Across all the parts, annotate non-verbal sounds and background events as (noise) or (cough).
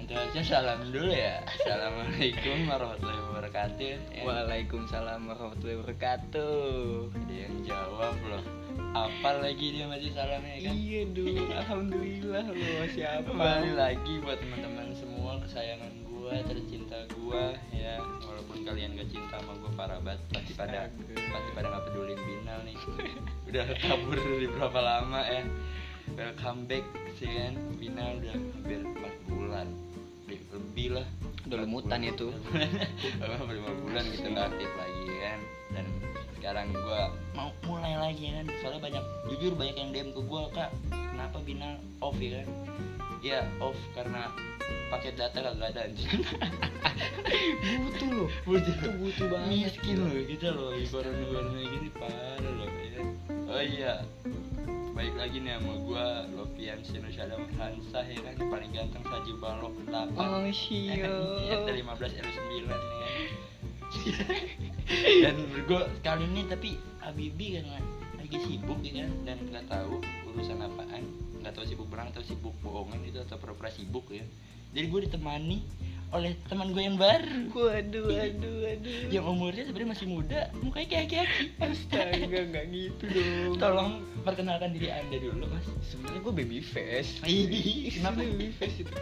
kita ya kan, salam dulu ya Assalamualaikum warahmatullahi wabarakatuh Ya. Yang- Waalaikumsalam warahmatullahi wabarakatuh. Yang jawab loh Apa lagi dia masih salamnya kan Iya dong, alhamdulillah lo siapa? Kembali lagi buat teman-teman semua kesayangan gua, tercinta gua ya. Walaupun kalian gak cinta sama gua parah banget, pasti pada Astaga. pasti pada gak pedulin binal nih. udah kabur dari berapa lama ya. Welcome back sih kan. Binal udah hampir 4 bulan. Lebih, lebih lah. Udah Empat lemutan bulan. (laughs) itu. Hampir lima bulan kita nggak aktif lagi kan. Dan sekarang gua mau mulai lagi ya kan. Soalnya banyak jujur banyak yang DM ke gua, Kak. Kenapa Binal off ya kan? ya off karena paket data kagak ada anjing Butuh lo, Butuh. Itu butuh banget. miskin loh kita loh ibaran ibarannya gini parah loh ya oh iya baik lagi nih sama gua Lopian Sinusyada Hansah ya kan paling ganteng saji balok Eh, Oh iya. delapan sio. ada 15 L9 nih kan (laughs) dan gua kali ini tapi Habibi karena lagi sibuk ya kan dan nggak tahu urusan apaan nggak tahu sibuk berang atau sibuk bohongan itu atau pura-pura sibuk ya jadi gue ditemani oleh teman gue yang baru Waduh, waduh, waduh. yang umurnya sebenarnya masih muda mukanya kayak aki-aki astaga nggak gitu dong. tolong perkenalkan diri anda dulu mas Sebenarnya gue baby face. Ih, Kenapa kenapa? baby face itu?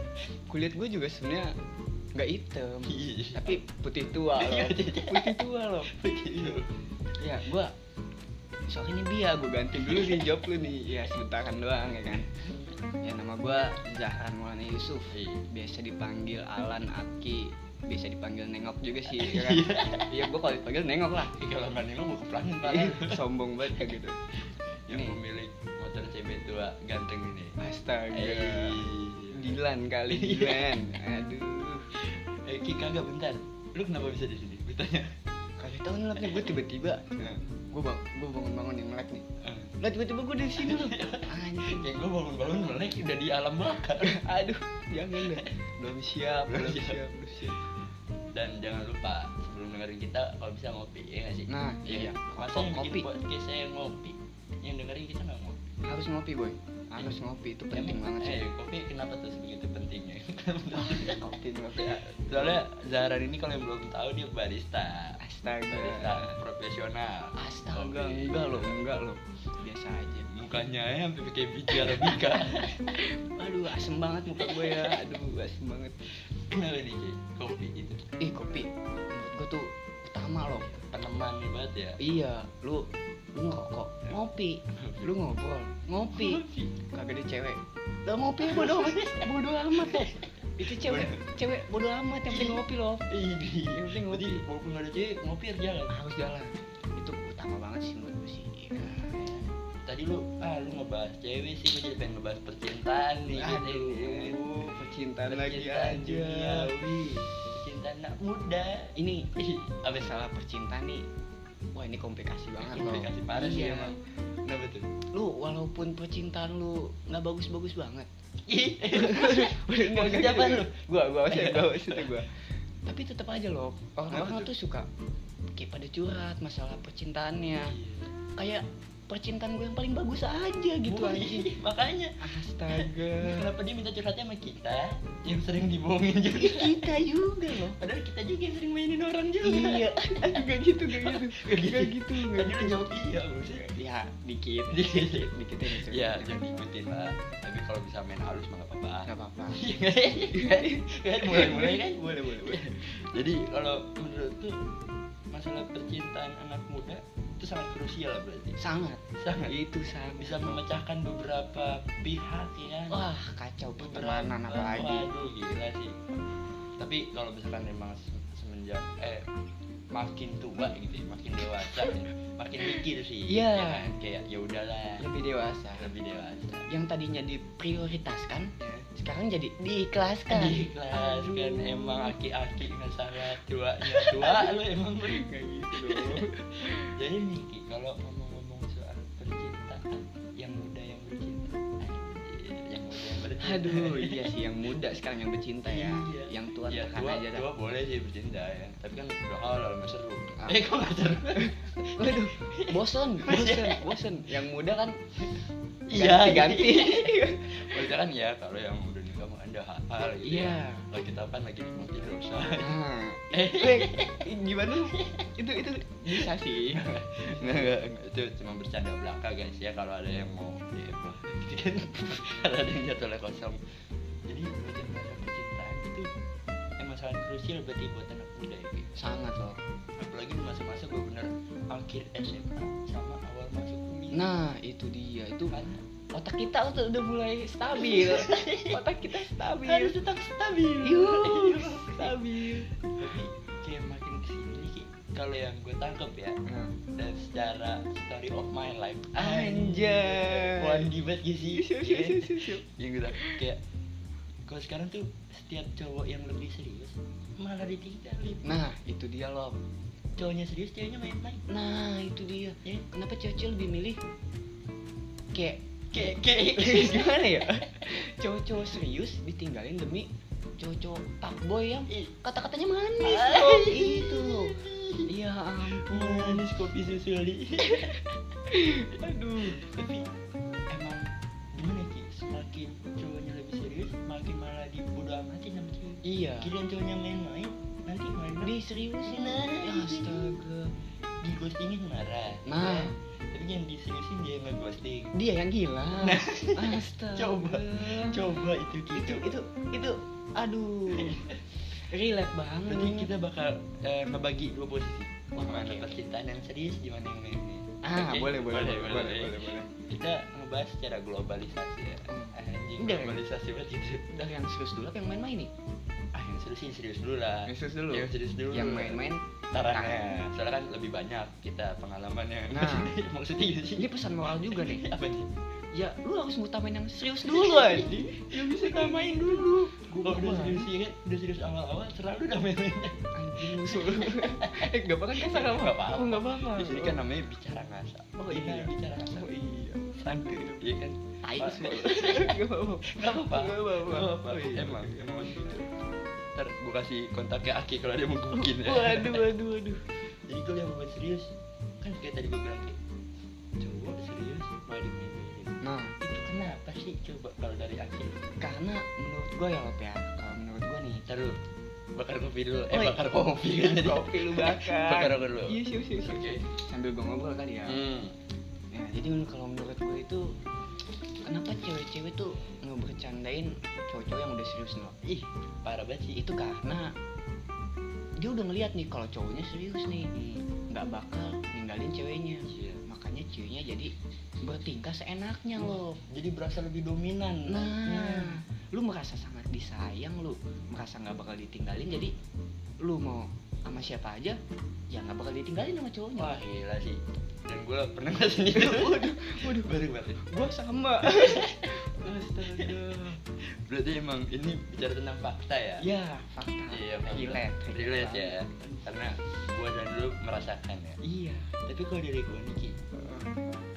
Kulit gue juga sebenarnya nggak hitam, tapi putih tua Iya, loh. putih tua. Putih tua loh. Ya, gue soalnya ini dia gue ganti dulu nih job lu nih. Ya sebentaran doang ya kan. Ya nama gue Zahran Maulana Yusuf. Iya. Biasa dipanggil Alan Aki. Biasa dipanggil Nengok juga sih. ya kan? Iya, gue kalau dipanggil Nengok lah. Ih, kalau nggak nengok mau keplangin Ih, parah Sombong banget ya gitu. yang Nih. pemilik motor CB2 ganteng ini Astaga. eh Dilan kali Dilan. Aduh. eh, Ki kagak bentar lu kenapa bisa di sini gue tanya Kagak tahu nih lapnya gue tiba-tiba. Gue bang, gue bangun-bangun nih melek nih. Eh, Lah tiba-tiba gue dari sini loh. Anjing. kayak gue bangun-bangun melek udah di alam bakar Aduh, jangan deh. Belum siap, belum Belum siap, siap. belum siap. dan jangan lupa sebelum dengerin kita kalau bisa ngopi ya nggak sih Nah, iya. masa yang Kopi. bikin podcast saya yang ngopi yang dengerin kita nggak ngopi Harus ngopi, boy. Harus ngopi itu penting Emang- banget sih. eh, kopi kenapa tuh sebegitu pentingnya (laughs) Ngopi, ngopi. soalnya Zahran ini kalau yang belum tahu dia barista barista Astaga. profesional Astaga, Kopi. Iya. Oh, enggak, enggak loh, enggak loh. Biasa aja. mukanya ya hampir kayak biji arabica (laughs) Aduh, asem banget muka gue ya. Aduh, asem banget. kenapa nih Ki? kopi gitu. itu Ih, kopi. Menurut gue tuh utama loh. peneman nih banget ya Iya, lu lu ngerokok, ngopi, lu ngobrol, ngopi. Kopi. Kagak ada cewek. Lah ngopi (laughs) bodo bodo amat loh. Itu cewek cewek bodo amat yang penting ngopi loh. ini Yang penting ngopi. berarti walaupun nggak ada cewek ngopi kan? harus jalan Harus jalan. Itu utama banget sih menurut gue sih. Iya. tadi lu ah lu ngebahas cewek sih gue jadi pengen ngebahas percintaan nih Aduh, gitu. percintaan lagi Percintaan aja. duniawi. percintaan anak muda Ini Ih, abis salah percintaan nih. Wah, ini komplikasi banget loh. komplikasi parah sih Iya. emang kenapa tuh Lu walaupun percintaan lu nggak bagus-bagus banget, ih Enggak, enggak, Siapa gitu. lu? Gua, gua maksudnya gua maksudnya gua. (laughs) Tapi tetap aja loh, orang-orang Kenapa tuh suka kayak pada curhat masalah percintaannya. Kayak percintaan gue yang paling bagus aja gitu Wah, anjing. ih, makanya Astaga. kenapa dia minta curhatnya sama kita yang sering dibohongin Ih, juga (laughs) kita juga loh. padahal kita juga yang sering mainin orang juga (laughs) iya, enggak gitu, enggak gitu. Enggak gitu, enggak tadi lu gitu. jawab iya lu sih Ya, dikit, (laughs) Dikit. dikit, dikit aja. ya jangan diikutin lah tapi kalau bisa main halus mah nggak apa-apa Enggak gitu. apa-apa. kan mulai mulai kan Eh, Boleh, boleh, boleh. jadi kalau menurut tuh masalah percintaan anak muda itu sangat krusial berarti Sangat. sangat Itu sangat. bisa memecahkan beberapa pihak ya Wah, kacau Beberapa- pertemanan apalagi. waduh gila sih tapi kalau misalkan memang se- semenjak eh makin tua gitu ya, makin dewasa ya, makin mikir sih Iya. ya kan? kayak ya udahlah Lebih dewasa. lebih dewasa yang tadinya diprioritaskan ya. sekarang jadi diikhlaskan diikhlaskan Aduh. kan, emang aki-aki nggak salah tuanya tua lu emang lu Kayak gitu dong (laughs) jadi Niki kalau ngomong-ngomong soal percintaan yang muda yang bercinta anjir, yang muda yang bercinta (laughs) aduh (laughs) iya sih yang muda sekarang yang bercinta ya Iya. yang tua ya, tekan tua, aja dah tua boleh sih bercinta ya tapi kan udah halal nggak seru Ah. eh kok nggak seru (laughs) waduh Iya. bosen bosen bosen yang muda kan Iya, ganti ganti Maksudnya kan ya kalau yang udah nikah mah ada hal gitu Iya. ya. lagi tapan lagi nikmatin dosa Nah, eh, eh, gimana itu itu bisa sih Nggak, nggak, nggak. itu cuma bercanda belaka guys ya kalau ada yang mau DM lah gitu kan (laughs) kalau ada yang jatuhnya kosong jadi bagian masa percintaan itu emang sangat krusial berarti buat anak muda ya Bi. sangat loh apalagi di masa-masa gue bener akhir SMA sama awal masuk kuliah nah itu dia itu kan otak kita udah udah mulai (laughs) stabil otak kita harus Kan stabil tetap stabil Yus, (laughs) stabil tapi kayak makin kesini kayak- kalau yang gue tangkep ya nah, dan secara story of my life Anjay. one banget gak sih siap siap siap siap, siap. yang gue tangkep Ya, gitu. kayak kalau sekarang tuh setiap cowok yang lebih serius malah ditinggalin nah itu dia loh cowoknya serius ceweknya main-main nah itu dia ya kenapa cewek lebih milih kayak (laughs) kayak (laughs) gitu. kayak gimana ya cowok-cowok serius ditinggalin demi cowok-cowok fuckboy yang kata-katanya manis loh itu loh iya ampun manis kopi susu li aduh tapi emang gimana sih semakin cowoknya lebih serius makin malah dibodoh amati sama cewek iya giliran cowoknya main-main nanti main di seriusin ya astaga di ghostingin marah Nah. tapi yang diseriusin dia nggak ghosting dia yang gila Nah. astaga (laughs) Coba. coba itu itu gitu itu itu aduh relate banget nanti kita bakal eh, ngebagi dua posisi Hmm. Wah, gimana oke. percintaan yang serius gimana yang ini Oke? ah boleh boleh boleh boleh boleh, kita ngebahas secara globalisasi ya Hmm. anjing Udah. globalisasi banget gitu Udah yang serius dulu apa yang main-main nih ah yang serius sih serius dulu lah Yang serius dulu? yang serius dulu yang main-main tarangnya soalnya kan lebih banyak kita pengalamannya Nah. (laughs) maksudnya gitu sih ini pesan moral juga nih (laughs) apa sih ya lu harus ngutamain yang serius dulu anjing ya bisa tamain dulu Gua Kalau udah banget. serius ya kan udah serius awal-awal selalu udah main-mainnya anjing musuh (laughs) eh gak apa-apa kan Nggak gak apa-apa. apa-apa gak apa-apa di sini kan namanya bicara ngasa Oh, Kita iya. bicara ngasa oh iya santai ya kan tai Ah, semua gak apa-apa nggak apa-apa Nggak apa-apa. Nggak apa-apa. Oh, iya. emang emang gitu ntar gue kasih kontaknya Aki kalau dia mau mungkin ya waduh waduh waduh jadi kalau yang bukan serius kan kayak tadi gue bilang kayak cowok serius malah dimainin nah itu kenapa sih coba kalau dari Aki karena menurut gue ya Lop ya kalau menurut gue (laughs) nih ntar lu bakar kopi dulu eh Oi. bakar kopi kan tadi (laughs) kopi lu bakar bakar kopi dulu iya siap siap siap. Oke. sambil gue ngobrol kali ya Hmm. Ya, jadi menurut- kalau menurut gue itu kenapa cewek-cewek tuh ngebercandain cowok-cowok yang udah serius loh Ih, parah banget sih. itu karena dia udah ngeliat nih kalau cowoknya serius nih nggak bakal ninggalin ceweknya Hmm. Iya. makanya ceweknya jadi bertingkah seenaknya loh Jadi berasa lebih dominan. Hmm. nah lu merasa sangat disayang lu merasa nggak bakal ditinggalin jadi lu mau sama siapa aja ya nggak bakal ditinggalin sama cowoknya Wah, gila sih. Dan gue pernah ngerasain (laughs) itu. Waduh, waduh. Baru banget. gua (laughs) sama astaga Berarti emang ini bicara tentang fakta ya? ya fakta Iya, fakta. relate Relate ya. Karena gue dan lu merasakan ya. iya Tapi kalau dari gue nih, Ki,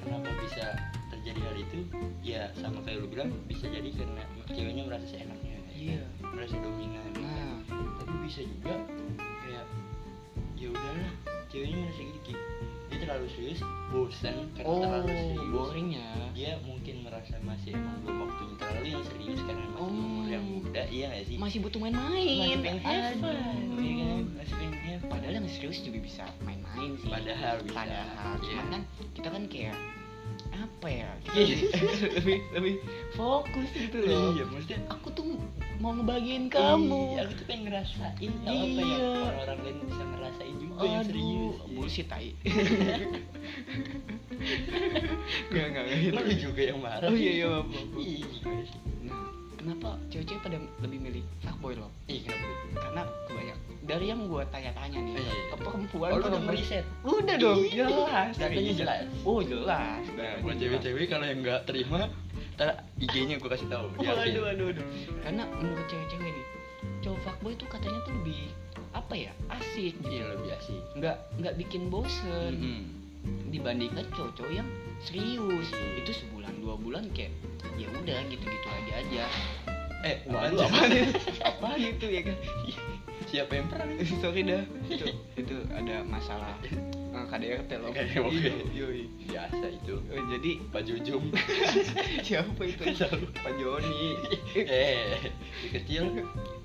kenapa bisa terjadi hal itu? Ya sama kayak lu bilang, bisa jadi karena ceweknya merasa seenaknya. ya Iya. kan? Merasa dominan. nah tapi bisa juga kayak ya udahlah ceweknya masih gigi dia terlalu serius bosan karena oh terlalu serius boring ya dia mungkin merasa masih emang belum waktunya terlalu yang serius karena masih Oh. umur yang muda iya nggak sih masih butuh Masih main-main pengen have Aduh. fun, iya kan? masih pengen have fun. padahal yang serius juga bisa main-main sih Padahal bisa. padahal Iya. cuman kan kita kan kayak apa ya kita Iya. lebih (laughs) lebih fokus gitu loh iya maksudnya aku tuh mau ngebagiin kamu iya, aku tuh pengen ngerasain tau apa Iya. yang orang-orang lain bisa ngerasain juga yang Aduh, serius iya. bullshit (laughs) tai. Enggak, enggak, Emang Iya, lu juga yang marah Oh, gitu. iya, iya, Ih, maaf, maaf. Ih, gimana sih? Nah, kenapa cewek-cewek pada lebih milih fuckboy loh? Ih, kenapa tuh? Karena kebanyak dari yang gua tanya-tanya nih Iya, iya. ke perempuan Oh, lu udah perempuan- meriset? Udah dong, jelas. Datanya Iya. jelas. Oh, jelas. Iya. Nah, Datanya buat jelas. cewek-cewek kalau yang nggak terima, ntar IG-nya gue kasih tahu. Oh, aduh, aduh, aduh. Karena menurut cewek-cewek nih, cowok fuckboy tuh katanya tuh lebih apa ya? Asik gitu. Iya lebih asik. Nggak nggak bikin bosen. Mhm. dibandingkan cowok-cowok yang serius Mm. itu sebulan dua bulan kayak ya udah gitu-gitu aja aja Eh, Wah, apaan lu sih? apa apa itu ya kan (laughs) Siapa yang perang? sorry dah itu, itu ada masalah eh, KDRT loh KDRT, oke. Iya, yoi. biasa itu Oh, jadi (laughs) Pak (laughs) Jujum siapa itu Nggak tahu. Pak Joni eh si kecil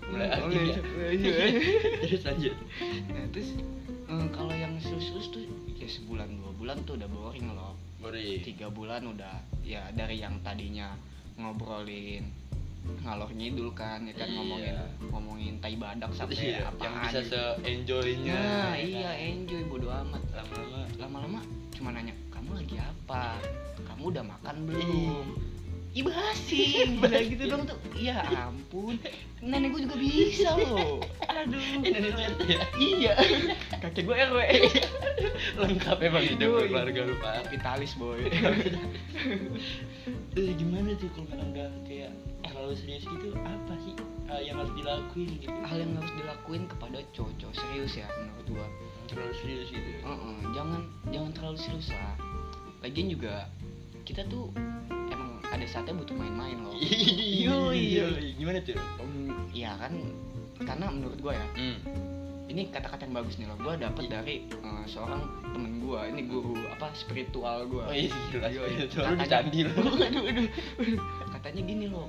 mulai Oh, lagi ya iya, iya. (laughs) terus lanjut nah terus eh, kalau yang serius-serius tuh ya sebulan dua bulan tuh udah boring loh Bori tiga bulan udah ya dari yang tadinya ngobrolin ngalor ngidul kan ya kan Iya. ngomongin ngomongin tai badak sampai Iya, apa yang bisa se enjoynya nah, iya enjoy bodo amat lama-lama lama-lama cuma nanya kamu lagi apa kamu udah makan belum Iya. (laughs) ibasin bilang gitu dong tuh ya ampun nenek gue juga bisa loh aduh ini nenek lu RT ya iya kakek gue rw (laughs) lengkap emang hidup Yoi. keluarga lu pak kapitalis boy Eh, gimana tuh kalau misalnya udah kayak terlalu serius gitu apa sih eh, yang harus dilakuin gitu (laughs) hal yang harus dilakuin kepada cowok serius ya menurut gue terlalu serius (laughs) gitu Heeh, jangan jangan terlalu serius lah lagian juga kita tuh emang ada saatnya butuh main-main loh Yoi. Yoi. gimana tuh Em, iya kan karena menurut gue ya hmm. ini kata-kata yang bagus nih loh gue dapet dari eh, seorang temen gue ini guru apa spiritual gue oh iya gila (laughs) Yoi. itu lu di Katanya- candi lu (laughs) aduh, aduh. katanya gini loh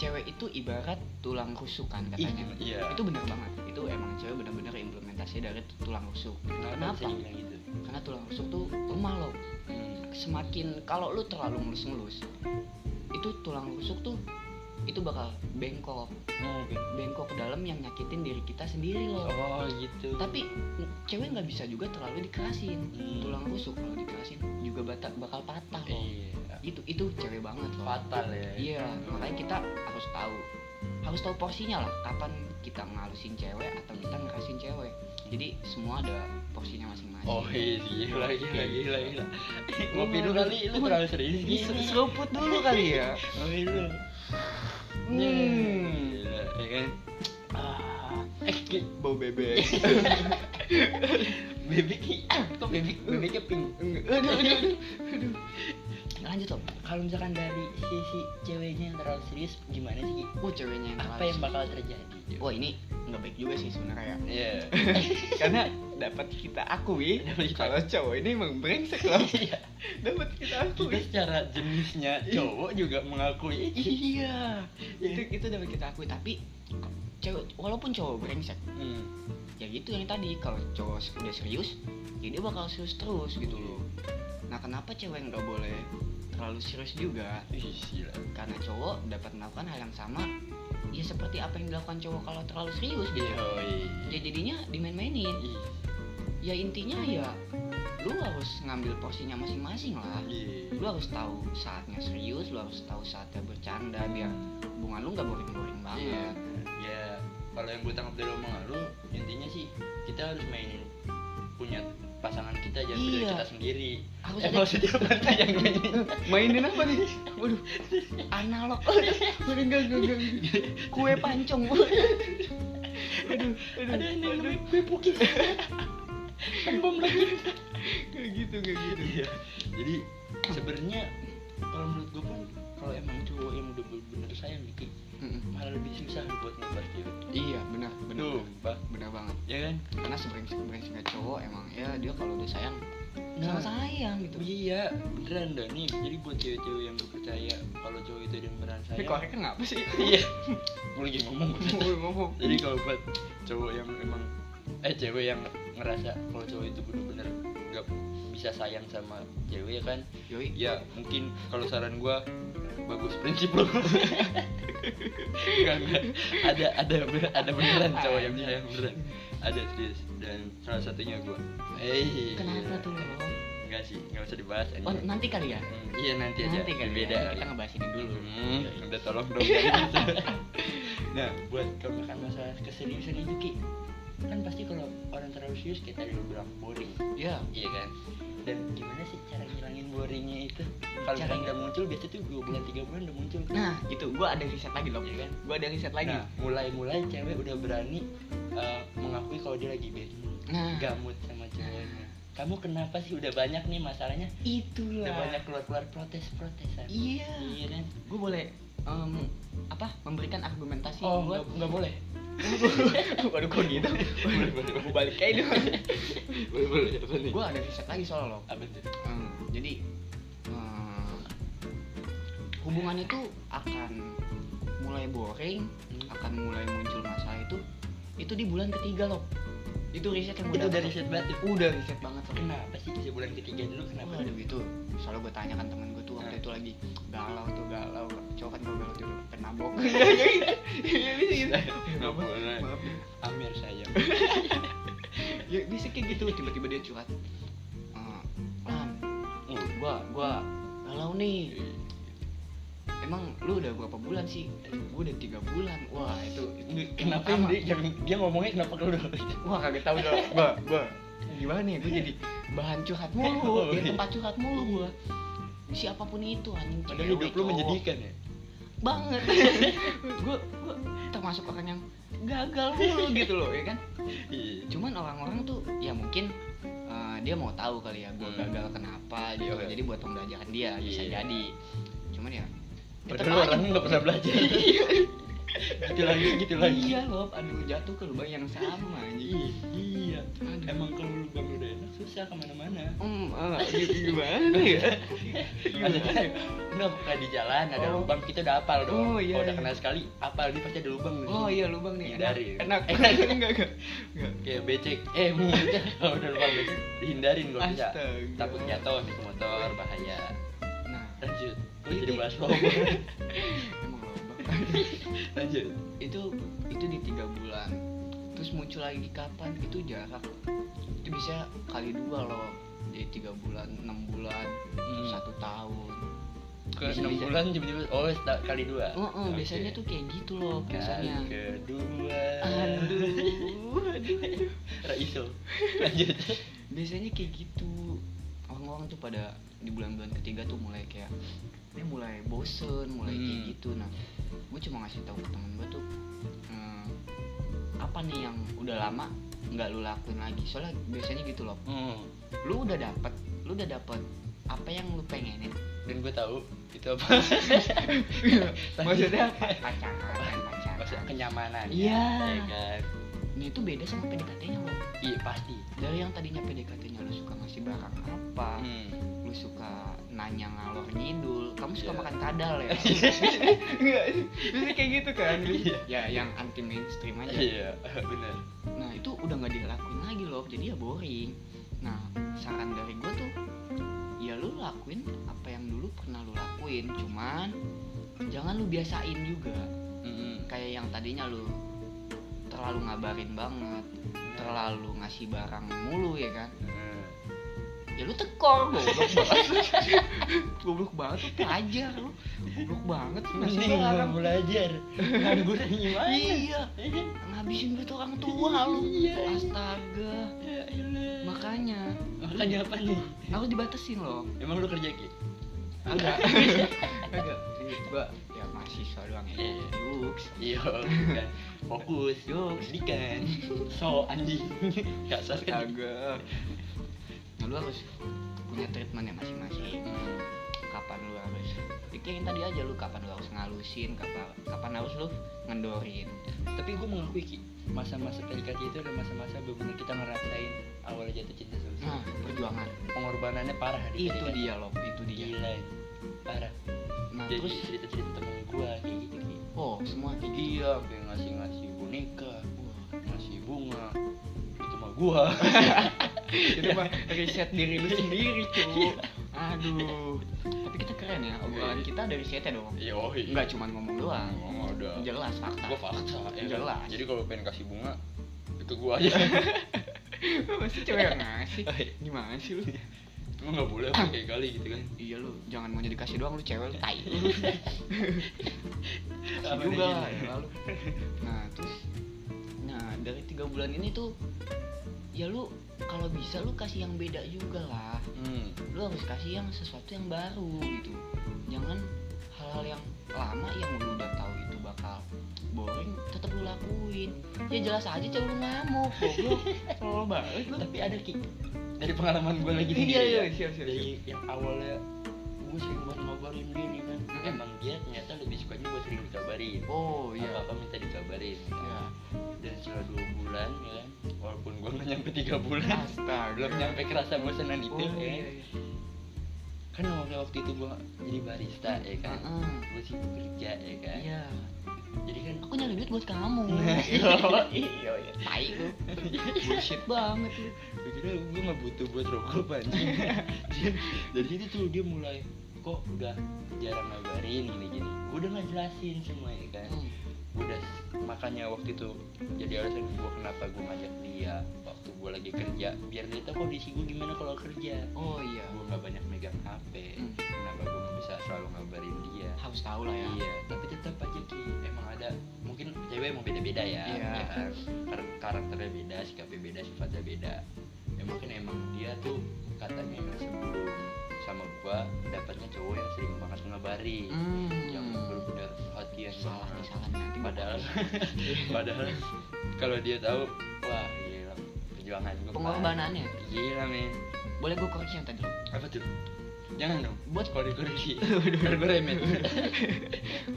cewek itu ibarat tulang rusuk kan katanya iya itu bener banget itu emang cewek bener-bener implementasi dari tulang rusuk bisa kenapa dibilang gitu karena tulang rusuk tuh lemah loh Hmm. semakin kalau lu terlalu ngelus-ngelus itu tulang rusuk tuh itu bakal bengkok Oh, be- bengkok ke dalam yang nyakitin diri kita sendiri loh oh gitu tapi cewek nggak bisa juga terlalu dikerasin Hmm. tulang rusuk kalau dikerasin juga batak bakal patah loh iya itu itu cewek banget loh fatal ya iya makanya kita harus tahu harus tahu porsinya lah kapan kita ngalusin cewek atau kita ngerasin cewek jadi semua ada porsinya masing-masing Oh iya, gila gila gila gila. Ngopi dulu kali, lu Waduh. terlalu serius Ini gini. se- seruput dulu kali ya (laughs) Ngopi dulu. Hmm. Gila, ya kan? Ah, eh, ki- bau bebek (laughs) bebek ki- ah, kok bebek bebeknya pink. aduh aduh aduh aduh. lanjut loh Kalau misalkan dari sisi ceweknya yang terlalu serius, gimana sih? Ki? oh ceweknya yang Apa terlalu yang bakal terjadi? wah ini nggak baik juga sih sebenarnya ya Iya. (laughs) (laughs) karena dapat kita akui Dapat kita- kalau cowok ini emang brengsek (laughs) loh Iya. dapat kita Kita akui secara jenisnya cowok juga mengakui itu. iya itu itu dapat kita akui tapi cewek walaupun cowok brengsek Hmm. ya gitu yang tadi kalau cowok udah serius ya dia bakal serius terus gitu loh nah kenapa cewek nggak boleh terlalu serius juga Ih, gila. karena cowok dapat melakukan hal yang sama ya seperti apa yang dilakukan cowok kalau terlalu serius Iya. gitu ya Yoi. jadinya dimain-mainin Ih, ya intinya ya lu harus ngambil porsinya masing-masing lah iya. lu harus tahu saatnya serius lu harus tahu saatnya bercanda biar hubungan lu nggak Iya. boring-boring banget Ya, kalau yang gue tangkap dari omongan lu, intinya sih kita harus mainin punya pasangan kita jangan punya Iya. kita sendiri. Harus eh, ada- (laughs) maksudnya apa tuh yang mainin? mainin apa nih waduh analog Waduh, enggak enggak enggak kue (laughs) pancong waduh Ada ini namanya kue pukis. Kan bom lagi. kayak gitu kayak gitu (laughs) Iya. Jadi sebenarnya kalau menurut gue pun kalau emang cowok yang udah bener-bener sayang gitu malah lebih susah buat ngubah cewek. iya benar benar Tuh, bah. benar banget Ya kan? karena sebrengsek brengseknya cowok emang ya dia kalau udah sayang Nah. sama sayang gitu Iya, beneran dah nih. Jadi buat cewek-cewek yang gue percaya kalau cowok itu dia beneran sayang. kenapa sih (laughs) Iya. gue lagi ngomong. (laughs) ngomong jadi kalau buat cowok yang emang eh cewek yang ngerasa kalau cowok itu bener-bener nggak bisa sayang sama cewek ya kan yoi ya mungkin kalau saran gua bagus prinsip lo Nggak, nggak. ada ada bener- ada beneran cowok yang sayang beneran ada serius dan salah satunya gua eh kenapa tuh enggak sih nggak usah dibahas anjing. oh nanti kali ya Hmm, iya nanti aja nanti kali beda ya. kita ngebahas ini dulu Hmm, Yoi. udah tolong dong. (laughs) nah, buat kalau misalkan masalah keseriusan itu Ki, kan pasti kalau orang terlalu serius kita tadi lu bilang boring, ya iya kan? Dan gimana sih cara ngilangin boringnya itu? Kalau Cara- misalkan udah muncul biasanya tuh dua bulan tiga bulan udah muncul. nah gitu gue ada riset lagi loh Iya kan? gue ada riset lagi Nah, mulai-mulai cewek udah berani eh, mengakui kalau dia lagi bad mood, Nah. gamut sama cowoknya. Kamu kenapa sih udah banyak nih masalahnya? itulah Udah banyak keluar-keluar protes-protesan. iya Nah. Iya kan? gue boleh em, apa memberikan argumentasi Oh, gue nggak- nggak boleh. (laughs) Waduh kok gitu Boleh, boleh, boleh. Gue balik aja dong boleh boleh apa nih Gue ada riset lagi soal lo apa tuh Hmm, Jadi hmm, Hubungan itu akan mulai boring Akan mulai muncul masalah itu Itu di bulan ketiga loh Itu riset yang itu udah dari riset banget Nah. tuh. Udah riset banget Sob. kenapa sih bisa bulan ketiga dulu kenapa Wah, dulu (laughs) aduh itu soalnya gue tanya kan temen gue tuh waktu Hmm. Nah. itu lagi galau tuh galau cowok kan gue galau tuh udah pernah mabok Nah. ya bisa gitu nggak boleh maaf (laughs) ya. Amir sayang (laughs) ya bisa kayak gitu tiba-tiba dia curhat Eh, Lan Uh, gue gue galau nih emang lu udah berapa bulan sih gue udah tiga bulan wah Nah, itu, itu kenapa pertama. dia jangan- dia ngomongnya kenapa lu dulu wah kagak tahu dong gue gue gimana nih gue jadi bahan curhat (laughs) mulu Iya. di tempat curhat mulu gue siapapun Iya, itu anjing padahal cewek, hidup lu cowok. menjadikan ya (laughs) banget gue gue termasuk orang yang gagal mulu gitu loh ya kan iya cuman orang-orang tuh ya mungkin eh, dia mau tahu kali ya gue Hmm. gagal kenapa gitu Iya. jadi buat pembelajaran dia bisa Iya. jadi cuman ya padahal orangnya nggak (laughs) pernah belajar gitu lagi gitu lagi iya loh aduh jatuh ke lubang yang sama Ih, anjing iya Aduh. emang kalau lu bang udah enak susah kemana-mana Hmm, eh, gitu, gimana ya? Maksudnya, Enggak, bukan di jalan ada Oh. lubang kita udah apal dong. Oh, iya, Kalau udah iya. kenal sekali, apal ini pasti ada lubang nih. (laughs) Oh iya lubang nih. enak. Hindari. Eh, Enak. Enak. Enggak enggak. Enggak. Kayak becek. Eh, (laughs) maksudnya kalau udah lubang becek dihindarin kalau bisa. Astaga. Takut jatuh nih ke motor bahaya. Nah, Lanjut. Lu Ini- jadi bahas (laughs) lubang. emang lubang. (laughs) Lanjut. itu itu di tiga bulan. Terus muncul lagi kapan? Itu jarak. Itu bisa kali dua loh. Jadi tiga bulan, enam bulan, Hmm. satu tahun. Ke Bisa, 6 bisa. bulan tiba-tiba oh seta- kali dua. Oh, oh, Oke. biasanya tuh kayak gitu loh kali biasanya. kedua. Aduh, (laughs) aduh. Raiso. Lanjut. biasanya kayak gitu orang-orang tuh pada di bulan-bulan ketiga tuh mulai kayak dia mulai bosen mulai kayak Hmm. gitu nah gue cuma ngasih tahu ke temen gue tuh hmm, apa nih yang udah lama nggak lu lakuin lagi soalnya biasanya gitu loh Hmm. lu udah dapet lu udah dapet apa yang lu pengenin Dan gue tahu itu apa? (laughs) (laughs) maksudnya apa? pacaran Maksudnya pacaran kenyamanan. Iya. Ya kan? ini tuh beda sama PDKT-nya lo Iya pasti. dari yang tadinya PDKT-nya lu suka ngasih barang apa Hmm. lu suka nanya ngalor ngidul kamu suka (laughs) Iya. makan kadal ya Enggak, bisa kayak gitu kan Iya. ya yang anti mainstream aja Iya, benar. nah itu udah nggak dilakuin lagi loh jadi ya boring nah saran dari gue tuh ya lu lakuin apa yang dulu pernah lu lakuin cuman jangan lu biasain juga Hmm. kayak yang tadinya lu terlalu ngabarin banget terlalu ngasih barang mulu ya kan Hmm. ya lu tekor goblok banget (laughs) goblok banget tuh pelajar lu goblok banget tuh ngasih Mending gak barang. belajar. Nganggur gimana? iya ngabisin duit orang tua lu Iya. astaga makanya Ya Makanya apa nih? harus dibatasin loh Emang lu kerja ki? agak (laughs) agak gua ya mahasiswa doang ya Iya. Yuks. Iya, bukan. Fokus, yuk, pendidikan. (laughs) So (laughs) anjing. Kasar kan? astaga nah, lu harus punya treatment ya masing-masing Hmm. kapan lu harus pikirin tadi aja lu kapan lu harus ngalusin kapan kapan harus lu ngendorin Tapi gue mengakui ki, masa-masa PDKT itu adalah masa-masa bener kita ngerasain awal jatuh cinta sama nah seseorang. perjuangan Pengorbanannya parah di itu PDKT. dia loh itu dia Gila, parah. nah Iya. Jadi terus cerita-cerita temen gue kayak gitu ki. oh semua kayak gitu Iya, sampai ngasih-ngasih boneka, Wah, ngasih bunga itu mah gua itu mah riset diri lu sendiri cuy aduh tapi kita keren ya obrolan Iya. kita dari risetnya dong (laughs) yoi nggak cuma ngomong doang Ngomong ada. jelas fakta gua fakta ya. Jelas. jadi kalau pengen kasih bunga itu gua aja (laughs) masih cewek yang ngasih Oh, iya. gimana sih lu cuma nggak boleh pakai kali gitu kan iya lu jangan maunya dikasih doang lu cewek lu tai Iya. Kasih Apa gitu. juga nih? lah ya lalu nah terus nah dari tiga bulan ini tuh ya lu kalau bisa lu kasih yang beda juga lah hmm. lu harus kasih yang sesuatu yang baru gitu jangan hal-hal yang lama yang lu udah tahu itu bakal boring tetap lu lakuin ya jelas aja cewek lu ngamuk goblok (laughs) tolol banget lu tapi ada ki dari pengalaman gua lagi iya sendiri iya ya. siap siap siap dari yang awalnya gue sering banget ngobarin dia nih kan Mm-mm. emang dia ternyata lebih sukanya gue sering dikabarin oh apa iya apa minta dikabarin iya dan setelah dua bulan ya kan Ah. walaupun gue nggak nyampe tiga bulan astaga belum nyampe kerasa bosanan oh, itu ya iya, kan. iya. kan waktu waktu itu gue jadi barista ya kan Heeh. gue sibuk kerja ya kan iya jadi kan aku nyari duit buat (laughs) kamu (laughs) iya iya tai lu bullshit banget lu Gua kira gue nggak butuh buat rokok anjing Dia- dari situ tuh dia mulai kok udah jarang ngabarin gini gini gue udah ngejelasin semua ya kan Hmm. Gua udah makanya waktu itu jadi alasan gue kenapa gue ngajak dia waktu gue lagi kerja biar dia tahu kondisi gue gimana kalau kerja oh iya gue nggak banyak megang hp Hmm. kenapa gue nggak bisa selalu ngabarin dia harus tahu lah ya Iya, tapi tetap aja Ki emang ada mungkin cewek emang beda-beda ya, Iya. ya kan? Kar- karakternya beda, sikapnya beda, sifatnya beda. Ya mungkin emang dia tuh katanya yang sebelum sama gua dapatnya cowok yang sering banget ngabarin, Hmm. yang berbeda hati yang salah nih salah nih. nanti Padahal, (laughs) padahal kalau dia tahu, wah gila perjuangan gua. pengorbanannya Pak. Gila men. boleh gue koreksi yang tadi lo Apa tuh? Jangan dong. Buat- koreksi. (laughs) Biar gue remeh.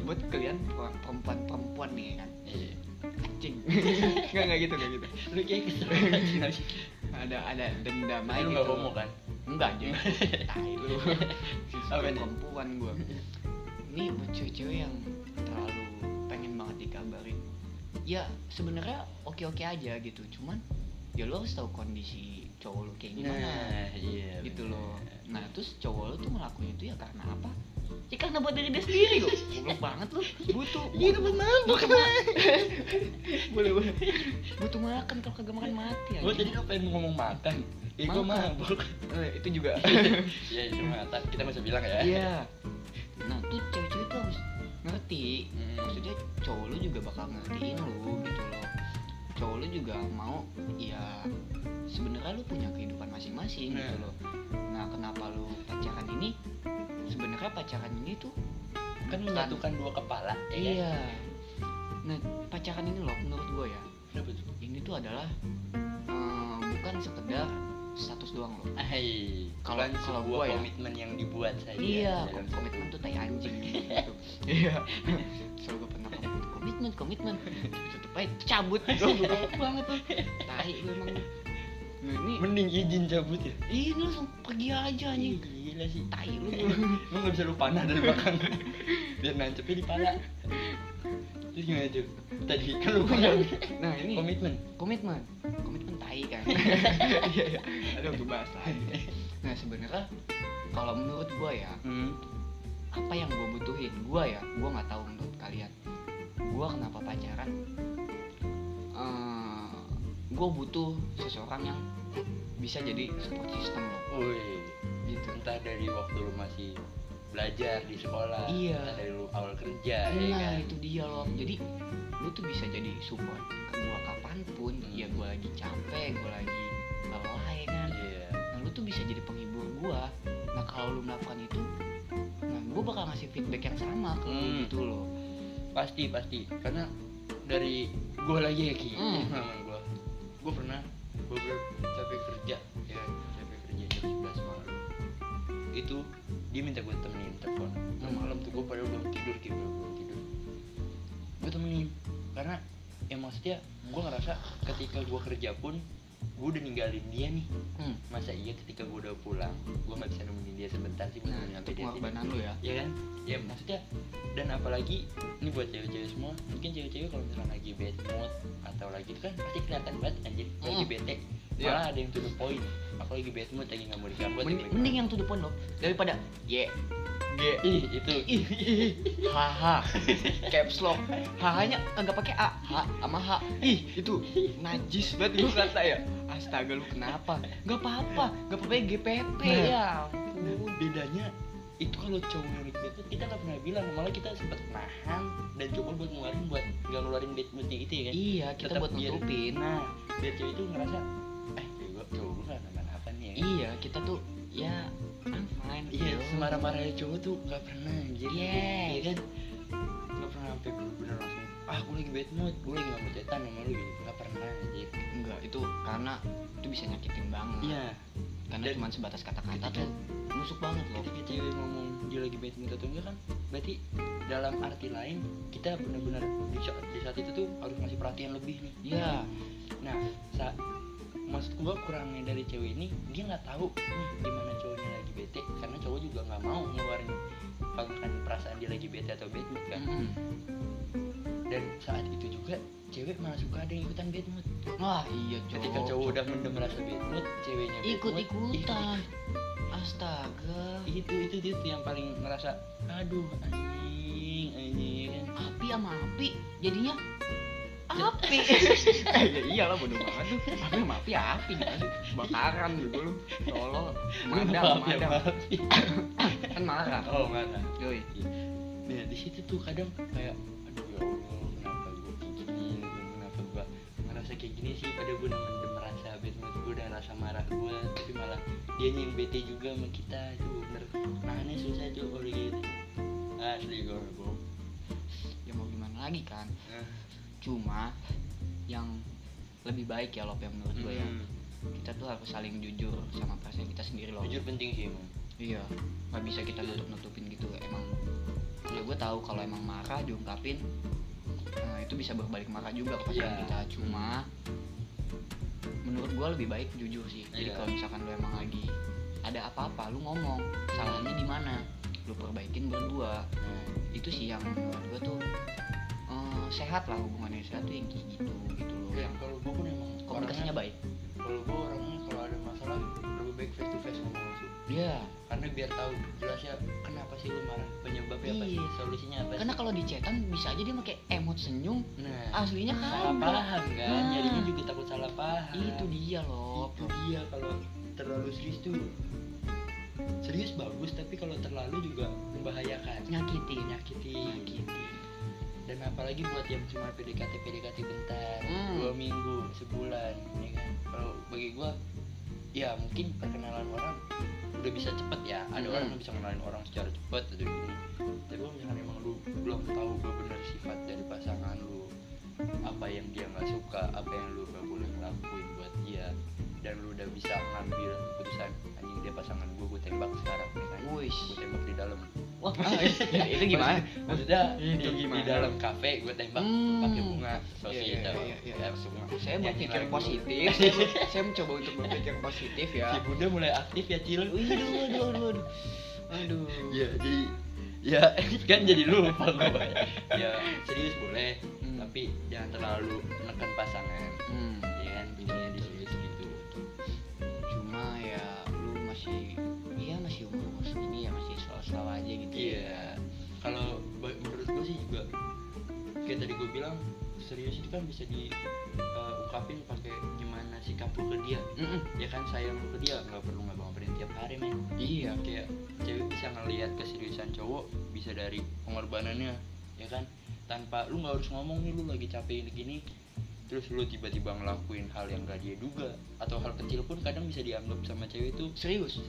buat kalian perempuan perempuan nih kan Iya. (laughs) anjing nggak nggak gitu nggak gitu Lu kayak kesel banget sih. ada ada dendam Tapi aja lu gitu nggak homo kan? enggak (laughs) anjing tai lu Apa apa nih? perempuan gue ini buat cewek-cewek yang terlalu pengen banget dikabarin ya sebenarnya oke-oke aja gitu cuman ya lo harus tahu kondisi cowok lo kayak gimana Nah, iya. gitu bener. loh nah terus cowok lu tuh ngelakuin itu ya karena apa ya karena buat diri dia sendiri kok goblok banget lu butuh Gitu buat mabuk kan. boleh boleh butuh makan kalau kagak makan mati ya Iya, Gua tadi lu pengen ngomong makan. Ya gua Makan. mabuk. Oh, itu juga Ya itu mata kita nggak usah bilang ya. iya nah tuh cewek-cewek tuh harus ngerti Hmm. maksudnya cowok lu juga bakal ngertiin lu gitu loh cowok lu juga mau ya sebenarnya lu punya kehidupan masing-masing gitu Nah. loh nah kenapa lu pacaran ini sebenarnya pacaran ini tuh Kan menyatukan dua kepala ya kan? Iya. Nah, pacaran ini loh menurut gue ya, Kenapa tuh? ini tuh adalah eh, bukan sekedar status doang loh. Hai, Kalau- bukan kalau sebuah gua ya. komitmen yang dibuat saja. kan? Iya, dalam kom- komitmen tuh tai anjing gitu. (laughs) Iya. Selalu gue pernah komitmen, komitmen, komitmen. Tetep aja cabut. Gue banget tuh. Tai lu emang. Nah, ini satu. Mending izin cabut ya. ini lu langsung pergi aja anjing. Ih, Gila sih. Tai (laughs) lu. Lu nggak bisa lu panah dari belakang. Biar nancepnya di pala. Terus gimana tuh? Tadi kan lu bilang Nah, ini komitmen. komitmen komitmen tai kan (laughs) Iya, iya. ada untuk bahas lagi nah sebenarnya kalau menurut gua ya Hmm. apa yang gua butuhin gua ya gua nggak tahu menurut kalian gua kenapa pacaran Eh, gua butuh seseorang yang bisa jadi support system lo Wih, gitu entah dari waktu lu masih belajar di sekolah, Iya. entah dari lu awal kerja, ya nah kan? itu dia loh jadi lu tuh bisa jadi support ke gua kapanpun Hmm. ya gua lagi capek gua lagi lelah ya kan Iya. nah lu tuh bisa jadi penghibur gua nah kalau lu melakukan itu nah gua bakal ngasih feedback yang sama ke lu Hmm. gitu loh Pasti pasti, karena dari gua lagi ya ki, Hmm. pengalaman (laughs) gua, gua pernah gua ber- capek kerja, ya kan? capek kerja jam 11 malam. Itu dia minta gua temenin telepon. Nah, Hmm. malam tuh gua pada belum tidur ki, belum belum tidur. Gua temenin, karena ya maksudnya gua ngerasa ketika gua kerja pun gua udah ninggalin dia nih hmm. masa iya ketika gue udah pulang gue nggak bisa nemenin dia sebentar sih buat nah nemenin itu sampai Iya, dia pengorbanan tidur. lu ya ya kan ya maksudnya dan apalagi ini buat cewek-cewek semua mungkin cewek-cewek kalau misalnya lagi bad mood atau lagi itu kan pasti kelihatan banget anjir Hmm. lagi bete Iya. malah ada yang to the point aku lagi bad mood lagi nggak mau diganggu atau mending, gimana. mending yang to the point loh daripada ye ye ih itu ih haha caps lock hahanya nggak pakai a h sama h ih itu najis banget gua kata ya astaga lu kenapa nggak apa-apa nggak apa-apa ya GPP Nah. ya ampun bedanya itu kalau cowok yang lagi bad mood kita nggak pernah bilang malah kita sempet nahan dan coba buat ngeluarin buat nggak ngeluarin bad moodnya itu ya kan iya kita Tetap buat biar- nutupin nah biar cewek itu ngerasa eh cewek cowok gue nggak kenapa nih ya kan? Iya, kita tuh ya I'm fine. Iya, yo. semarah-marahnya cowok tuh gak pernah anjir Yes. Iya kan? Gak pernah sampai bener-bener langsung Ah, gue lagi bad mood, gue lagi gak mau cetan sama lu gitu Gak pernah anjir Enggak, itu karena itu bisa nyakitin banget. Iya, Karena dan- cuma sebatas kata-kata ketika- tuh. Lu busuk banget loh ketika cewek ngomong dia lagi bad mood atau enggak kan berarti dalam arti lain kita benar-benar di saat, di saat itu tuh harus ngasih perhatian lebih nih iya nah saat maksud gua kurangnya dari cewek ini dia nggak tahu nih gimana cowoknya lagi bete karena cowok juga nggak mau ngeluarin ungkapan perasaan dia lagi bete atau bad mood kan Mm-mm. dan saat itu juga cewek malah suka ada yang ikutan bad mood wah iya cowok ketika Oh, cowok udah mendem rasa bad mood ceweknya bad ikut mood, ikutan astaga ikut. itu itu itu yang paling ngerasa aduh anjing anjing kan api sama api jadinya api (laughs) eh, ya iyalah bodoh banget tuh api sama api ya api kan bakaran gitu lu tolol madam Maaf ya, madam maaf ya. kan marah oh marah yoi nah di situ tuh kadang kayak aduh ya allah kenapa gue kayak gini Gua kenapa gue ngerasa kayak gini sih pada gue udah mendem rasa bad mood gue udah rasa marah gue tapi malah dia yang bete juga sama kita itu bener nahannya susah tuh kalau gitu asli gue ya mau gimana lagi kan nah, cuma yang lebih baik ya Lop yang menurut gue ya kita tuh harus saling jujur sama perasaan kita sendiri loh jujur penting sih emang iya nggak bisa kita nutup nutupin gitu emang ya gue tahu kalau emang marah diungkapin eh, itu bisa berbalik marah juga ke pasangan Iya. kita cuma menurut gue lebih baik jujur sih Iya. jadi kalau misalkan lu emang lagi ada apa-apa lu ngomong salahnya di mana lu perbaikin berdua nah, itu sih yang menurut gue tuh eh, sehat lah hubungannya sehat tuh yang kayak gitu gitu loh dan yang kalau gue pun emang komunikasinya orangnya- baik kalau gue orangnya kalau ada masalah lebih baik face to face ngomong langsung iya karena biar tahu jelasnya kenapa sih lu marah penyebabnya apa sih Iya. solusinya apa karena sih kalau di chatan bisa aja dia pakai emot senyum nah aslinya salah kagak paham kan Nah. jadinya juga takut salah paham Oh, itu dia loh itu dia kalau terlalu serius tuh serius bagus tapi kalau terlalu juga membahayakan nyakitin menyakiti nyakitin dan apalagi buat yang cuma PDKT PDKT bentar Hmm. dua minggu sebulan ya kan kalau bagi gua ya mungkin perkenalan orang udah bisa cepet ya ada Hmm. orang yang bisa kenalin orang secara cepet atau gini tapi kalau misalkan emang lu belum tahu benar sifat dari pasangan lu apa yang dia nggak suka apa yang lu gak boleh ngelakuin buat dia dan lu udah bisa ngambil keputusan anjing dia pasangan gua gua tembak sekarang ya kan Wuish. gua tembak di dalam Ah, iya. wah itu gimana maksudnya Itu di, di gimana? dalam kafe gue tembak Hmm. pakai bunga Iya, sosial iya, itu iya, iya. ya semua saya Nyanyi berpikir lagu. (laughs) positif saya, saya mencoba untuk berpikir positif ya si bunda mulai aktif ya cil aduh aduh aduh aduh aduh ya jadi ya (laughs) kan jadi lupa gue ya serius boleh Hmm. tapi jangan terlalu menekan pasangan Hmm, ya kan intinya di serius gitu cuma ya lu masih iya masih umur umur segini ya masih selalu-selalu aja gitu iya kalau ba- menurut gue sih juga kayak tadi gue bilang serius itu kan bisa diungkapin pakai gimana sikap lu ke dia Mm-mm. ya kan sayang lu ke dia nggak perlu nggak ngabarin tiap hari men Nah, iya kayak cewek bisa ngelihat keseriusan cowok bisa dari pengorbanannya ya kan tanpa lu nggak harus ngomong nih lu lagi capek gini terus lu tiba-tiba ngelakuin hal yang gak dia duga atau hal kecil pun kadang bisa dianggap sama cewek itu serius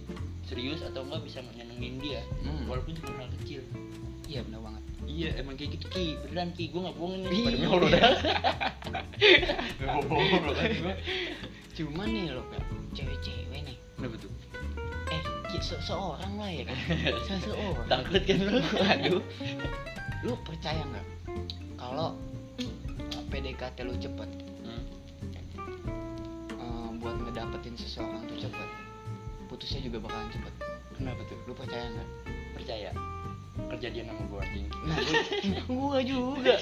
serius atau enggak bisa nyenengin dia Hmm. walaupun cuma hal kecil iya benar banget iya emang kayak gitu ki beneran ki gue nggak bohongin Ih. nih pada mulu dah Gua Iya. bohong lu kan gue cuman nih lo cewek-cewek nih kenapa tuh eh ki- se- seorang lah ya (laughs) kan seseorang takut kan lu aduh lu percaya nggak kalau uh, PDKT lu cepet uh, buat ngedapetin seseorang tuh cepet putusnya juga bakalan cepet kenapa tuh lu percaya nggak percaya kejadian sama gue anjing nah (laughs) gua, gua juga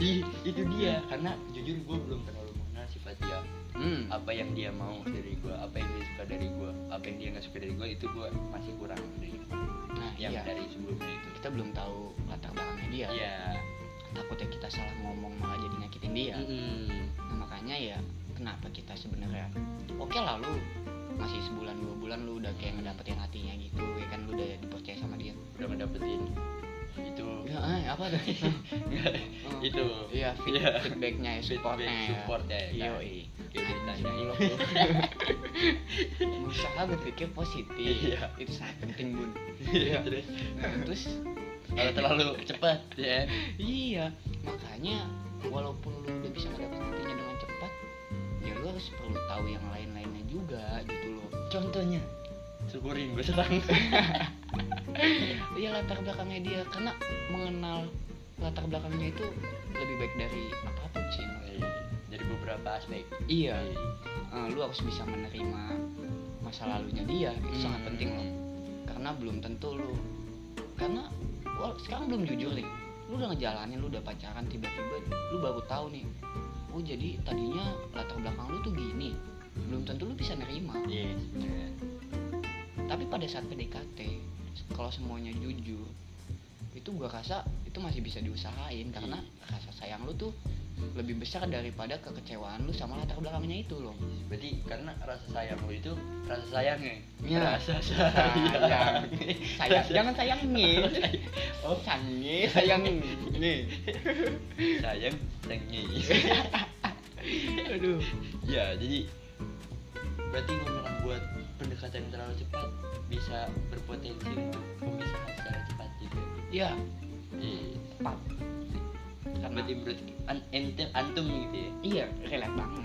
Ih, itu dia karena jujur gue belum terlalu mengenal sifat dia hmm. apa yang dia mau dari gue apa yang dia suka dari gue apa yang dia nggak suka dari gue itu gue masih kurang dari nah yang iya dari sebelumnya itu kita belum tahu latar belakangnya dia iya takutnya kita salah ngomong malah jadi nyakitin dia Mm-mm. nah makanya ya kenapa kita sebenarnya oke lah lu masih sebulan dua bulan lu udah kayak ngedapetin hatinya gitu ya kan lu udah dipercaya sama dia udah ngedapetin itu ya, eh, apa (laughs) tuh (laughs) Hmm. itu Iya, feed- Iya. feedbacknya ya, supportnya. Feedback, support ya, kan? Yoi. Kayak ditanyain. (laughs) Usaha berpikir positif. Iya. Itu sangat penting, Bun. Terus, Nah, terus kalau terlalu cepat ya iya, makanya walaupun lu udah bisa ngedapetin hatinya dengan cepat, ya lu harus perlu tahu yang lain-lainnya juga gitu loh. contohnya syukurin gue serang ya latar belakangnya dia karena mengenal latar belakangnya itu lebih baik dari apapun sih Iya. dari beberapa aspek iya eh, lu harus bisa menerima masa lalunya dia itu Hmm. sangat penting loh karena belum tentu lu karena wah, sekarang belum jujur nih lu udah ngejalanin lu udah pacaran tiba-tiba lu baru tahu nih oh jadi tadinya latar belakang lu tuh gini belum tentu lu bisa nerima iya sebenarnya. tapi pada saat PDKT kalau semuanya jujur itu gua rasa itu masih bisa diusahain karena rasa sayang lu tuh lebih besar daripada kekecewaan lu sama latar belakangnya itu loh berarti karena rasa sayang lo itu rasa sayangnya Iya. rasa sayang sayang jangan sayangin Oh. sayangin sayangin nih sayang sayangnya (laughs) aduh ya jadi berarti gue bilang buat pendekatan yang terlalu cepat bisa berpotensi untuk pemisahan secara cepat gitu ya iya tepat karena berarti berarti an- ente- antum gitu ya iya relate banget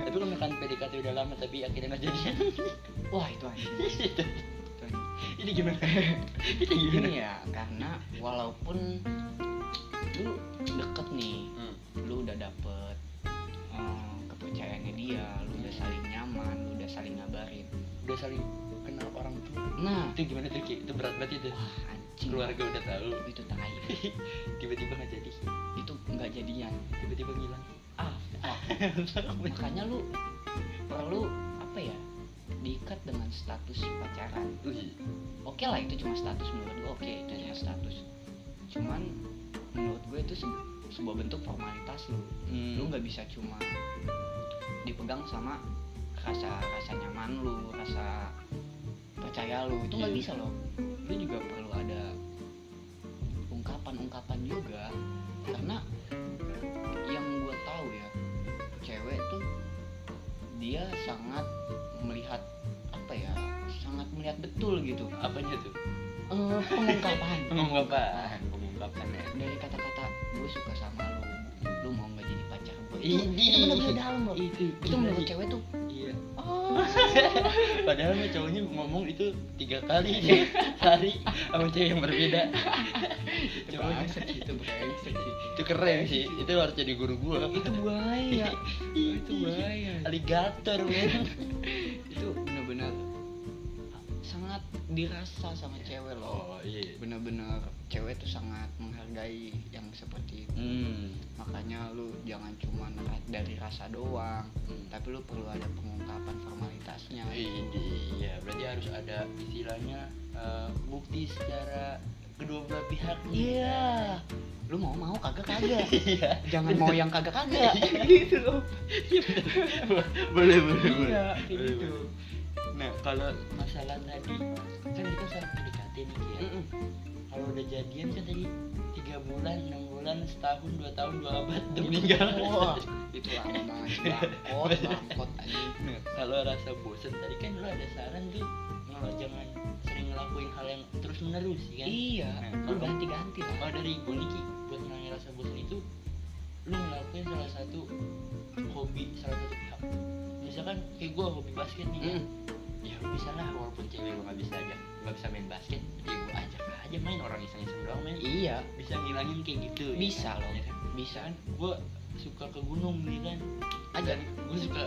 tapi kalau misalkan PDKT udah lama tapi akhirnya nggak (laughs) jadian (laughs) wah itu anjing Itu anjing. ini gimana (laughs) ini gimana gini ya karena walaupun lu deket nih Hmm. lu udah dapet eh, kepercayaannya dia lu udah saling nyaman lu udah saling ngabarin udah saling kenal orang tuh nah itu gimana tuh Ki? itu berat banget itu wah anjing keluarga udah tahu itu tai tiba-tiba nggak jadi itu nggak jadian tiba-tiba ngilang ah fuck. makanya lu perlu apa ya diikat dengan status pacaran Wih, oke lah itu cuma status menurut gue oke itu cuma status cuman menurut gue itu se- sebuah bentuk formalitas lu hmm, lu nggak bisa cuma dipegang sama rasa rasa nyaman lu rasa percaya lu itu nggak Iya. bisa loh lu juga perlu ada ungkapan-ungkapan juga karena yang gue tahu ya cewek tuh dia sangat melihat apa ya sangat melihat betul gitu apanya tuh Eh, (laughs) pengungkapan pengungkapan pengungkapan ya dari kata-kata gue suka sama lu lu mau nggak jadi pacar gue itu Ini. itu bener-bener dalam loh Oh, itu itu menurut cewek tuh iya (laughs) oh padahal mah cowoknya ngomong itu tiga kali (laughs) dia hari sama cewek yang berbeda cowoknya bangsat sih, (laughs) itu brengsek sih itu keren sih itu harus jadi guru gua itu (laughs) bahaya Oh, itu bahaya aligator men itu bener-bener sangat dirasa sama cewek oh loh iya bener-bener cewek tuh sangat menghargai yang seperti itu hmm makanya lu jangan cuma dari rasa doang tapi lu perlu ada pengungkapan formalitasnya iya berarti harus ada istilahnya eh, bukti secara kedua belah pihak Iya. Lu mau mau kagak kagak. (laughs) iya Jangan mau yang kagak kagak. gitu loh boleh boleh boleh Iya, kayak Boleh, gitu. boleh. nah kalau masalah tadi kan kita sekarang PDKT nih Ki, ya Mm-mm. kalau udah jadian kan tadi tiga bulan enam bulan setahun dua tahun dua abad udah kan meninggal Wah, itu lama banget. sih, (laughs) Bangkot, bangkot anjing. Nah, kalau rasa bosen tadi kan lu ada saran tuh kalau jangan sering ngelakuin hal yang terus menerus ya kan Iya, lu kalau- ganti-ganti lah. kalau dari gue nih Ki, buat ngilangin rasa bosan itu lu ngelakuin salah satu hobi salah satu pihak misalkan kayak gue hobi basket nih Mm. ya lu bisa lah walaupun cewek lu nggak bisa aja nggak bisa main basket ya gue ajak aja main orang iseng-iseng doang main Iya, bisa ngilangin kayak gitu ya Bisa kan? loh. Ya kan? bisa kan? gue suka ke gunung nih kan Aja. gue suka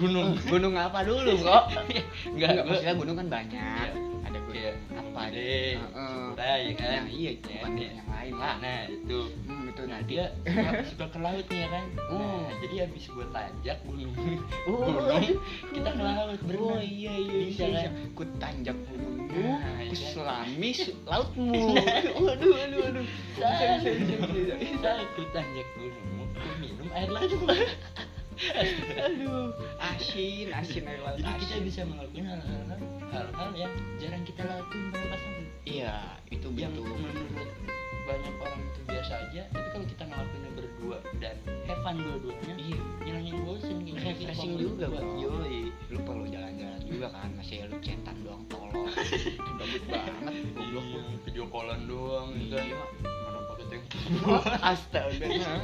gunung Gunung apa dulu, kok? (laughs) Nggak, Enggak, gua- maksudnya gunung kan banyak. Iya. Ada gunung kayak apa aja. deh Heeh. ya kan Nah, iya, Ya, bukan ya. gunung yang lain lah. nah itu Hmm, itu Nah nanti. dia suka, suka ke laut nih ya kan Oh. Nah, jadi habis gue tajak gunung Oh. (laughs) gunung kita ke laut berenang Oh iya iya Bisa, bisa kan? kan? Ku tanjak gunungmu, Nah, ku iya. selami su- (laughs) lautmu. Waduh, aduh, aduh. Bisa, bisa, bisa, bisa, bisa. Saat ku tanjak gunung ku minum air (laughs) Iya, laut lah Aduh, asin, asin air laut. jadi kita asin. bisa melakukan hal-hal hal-hal yang jarang kita lakuin pada pasangan Iya, itu yang betul. menurut banyak orang itu biasa aja tapi kalau kita ngelakuinnya berdua dan have fun dua-duanya Iya, ngilangin bosen gitu. Iya. ngilangin Refreshing bosen juga, berdua. Bro. Yoi. lu perlu jalan-jalan juga kan, masih lu cetan doang tolong. Gabut banget, goblok. Iya, video callan doang ya kan Iya. mana pakai tank (laughs) Astaga. Iya.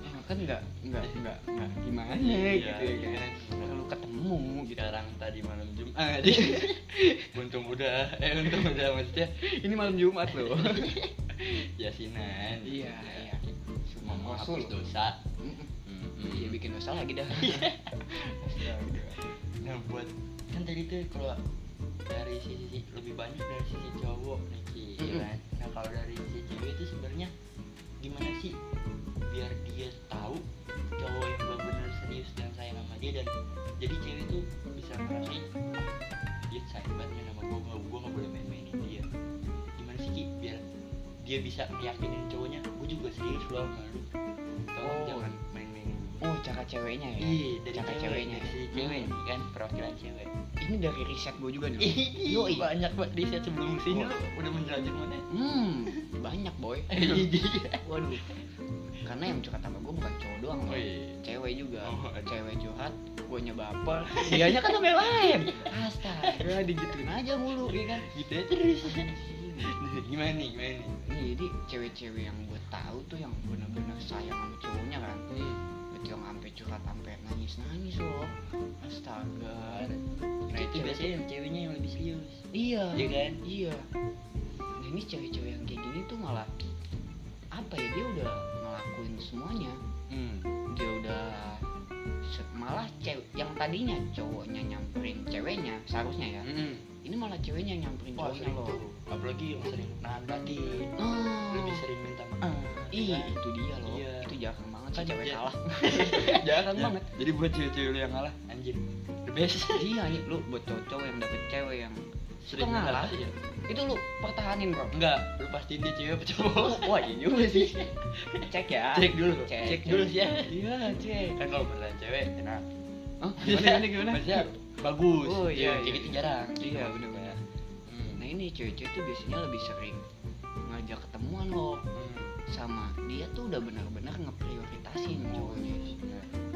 Nah, kan nggak nggak nggak nggak gimana gitu ya kan. Kalau ketemu gitu sekarang tadi malam Ah, iya. Jumat untung udah eh untung udah maksudnya ini malam Jumat loh yasinan iya iya semua mau Rasul. hapus dosa Mm-mm. Mm-mm. iya bikin dosa lagi dah Astaga. nah buat kan tadi tuh kalau dari sisi lebih banyak dari sisi cowok nih Ci, ya Mm-mm. kan? nah kalau dari sisi cewek itu sebenarnya gimana sih biar dia tahu cowok yang benar-benar serius dan sayang sama dia dan jadi cewek tuh bisa ngerasain "Ah, dia sayang banget nih sama gue gue gue gak boleh main-mainin dia gimana sih Ki biar dia bisa meyakinin cowoknya gue juga serius loh sama lu tolong Oh. jangan main-mainin gue." oh cara ceweknya ya Iya, dari cara cewek, ceweknya dari sisi cewek nih kan perwakilan cewek ini dari riset gue juga nih Ih, Yoi. banyak banget di set sebelum sini Oh. lu udah menjelajah mana? hmm banyak boy Iya. waduh karena yang curhat sama gue bukan cowok doang loh iya. cewek juga Oh, Iya, ada. cewek curhat gue nyebaper dianya kan sama yang lain astaga digituin aja mulu ya kan Gitu ya terus. Anjing. gimana nih, gimana nih? Iya, jadi cewek-cewek yang gue tahu tuh yang benar-benar sayang sama cowoknya kan itu yang sampai curhat sampai nangis nangis loh astaga Nah itu biasanya yang ceweknya yang lebih serius. iya Iya kan? iya nah ini cewek-cewek yang kayak gini tuh malah apa ya dia udah ngelakuin semuanya Hmm. dia udah se- malah cewek yang tadinya cowoknya nyamperin ceweknya seharusnya ya ini malah ceweknya nyamperin Wah cowoknya gitu. sering loh tuh. Hmm. Apalagi yang sering nahan batin, Ah, lebih sering minta maaf. Ih, kan? itu dia loh. Iya. Itu jarang banget sih Kan cewek dia- kalah. Jarang Iya. banget. Ya. Jadi buat cewek-cewek lu yang kalah, anjir, the best. (laughs) iya, iya. lu buat cowok yang dapet cewek yang Sering Suka ngalah. ngalah. Iya. itu lu pertahanin, Bro. Enggak, lu pastiin dia cewek apa cowok. Wah, iya juga sih. (laughs) Cek ya. Cek dulu, Cek, cek dulu cek. sih ya. Iya, cek. Kan kalau berlain cewek enak. Hah? Gimana gimana gimana? Maksudnya bagus. Oh, iya, Cewek iya. gitu jarang. Iya, benar-benar. Nah, ini cewek-cewek tuh biasanya lebih sering ngajak ketemuan loh sama dia tuh udah benar-benar ngeprioritasin cowoknya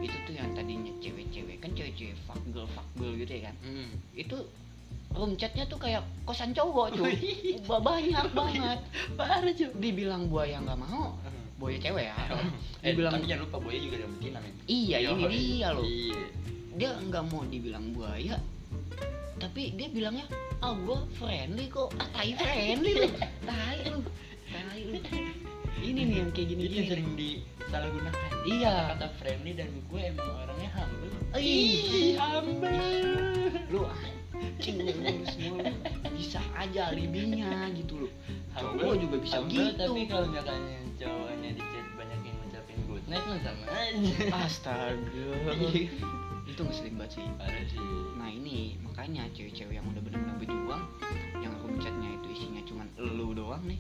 itu tuh yang tadinya cewek-cewek kan cewek-cewek fuck girl fuck girl gitu hmm, ya kan itu room chatnya tuh kayak kosan cowok (laughs) cuy Ba- banyak banget Parah cuy. dibilang buaya nggak mau buaya cewek ya Ah, Eh, Dibilang- tapi jangan lupa buaya juga ada betina men. iya ini Yoi. dia loh Iya. dia nggak mau dibilang buaya tapi dia bilangnya ah gua friendly kok ah tai friendly lu tai lu tai lu ini nih yang kayak gini Itu yang gini sering disalahgunakan. iya Kata friendly dan gue emang orangnya humble. Iya. Ih, humble. lu anjing lu semua lu. bisa aja alibinya gitu loh cowok juga bisa humble, gitu Tapi kalau misalnya cowoknya di chat banyak yang ngucapin good night mah sama aja. astaga Iya. itu ngeselin banget sih Parah sih. Nah ini makanya cewek-cewek yang udah benar-benar berjuang Yang room chatnya itu isinya cuman lu doang nih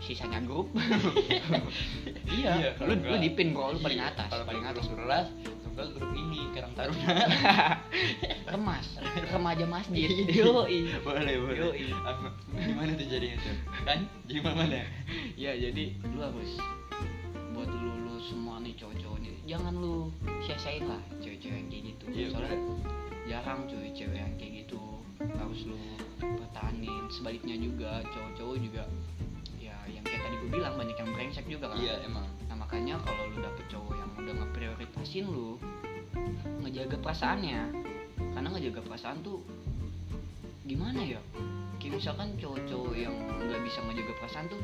Sisanya grup (laughs) Iya, kalau lu, lu enggak- di pin bro, lu Iya, paling atas Kalau Paling atas grup kelas, tunggu grup ini Karang (laughs) Taruna. Remas, remaja (laughs) masjid Yoi. boleh Yoi. Apa- gimana tuh jadinya tuh kan gimana mana Ya jadi lu harus Buat lu, lu semua nih cowok-cowok nih Jangan lu sia-siain lah cewek-cewek yang kayak gitu Iya, Soalnya jarang cuy cewek yang kayak gitu harus lu pertahanin sebaliknya juga cowok-cowok juga ya yang kayak tadi gue bilang banyak yang brengsek juga kan iya emang nah makanya kalau lu dapet cowok yang udah ngeprioritasin lu ngejaga perasaannya karena ngejaga perasaan tuh gimana ya kayak misalkan cowok-cowok yang nggak bisa ngejaga perasaan tuh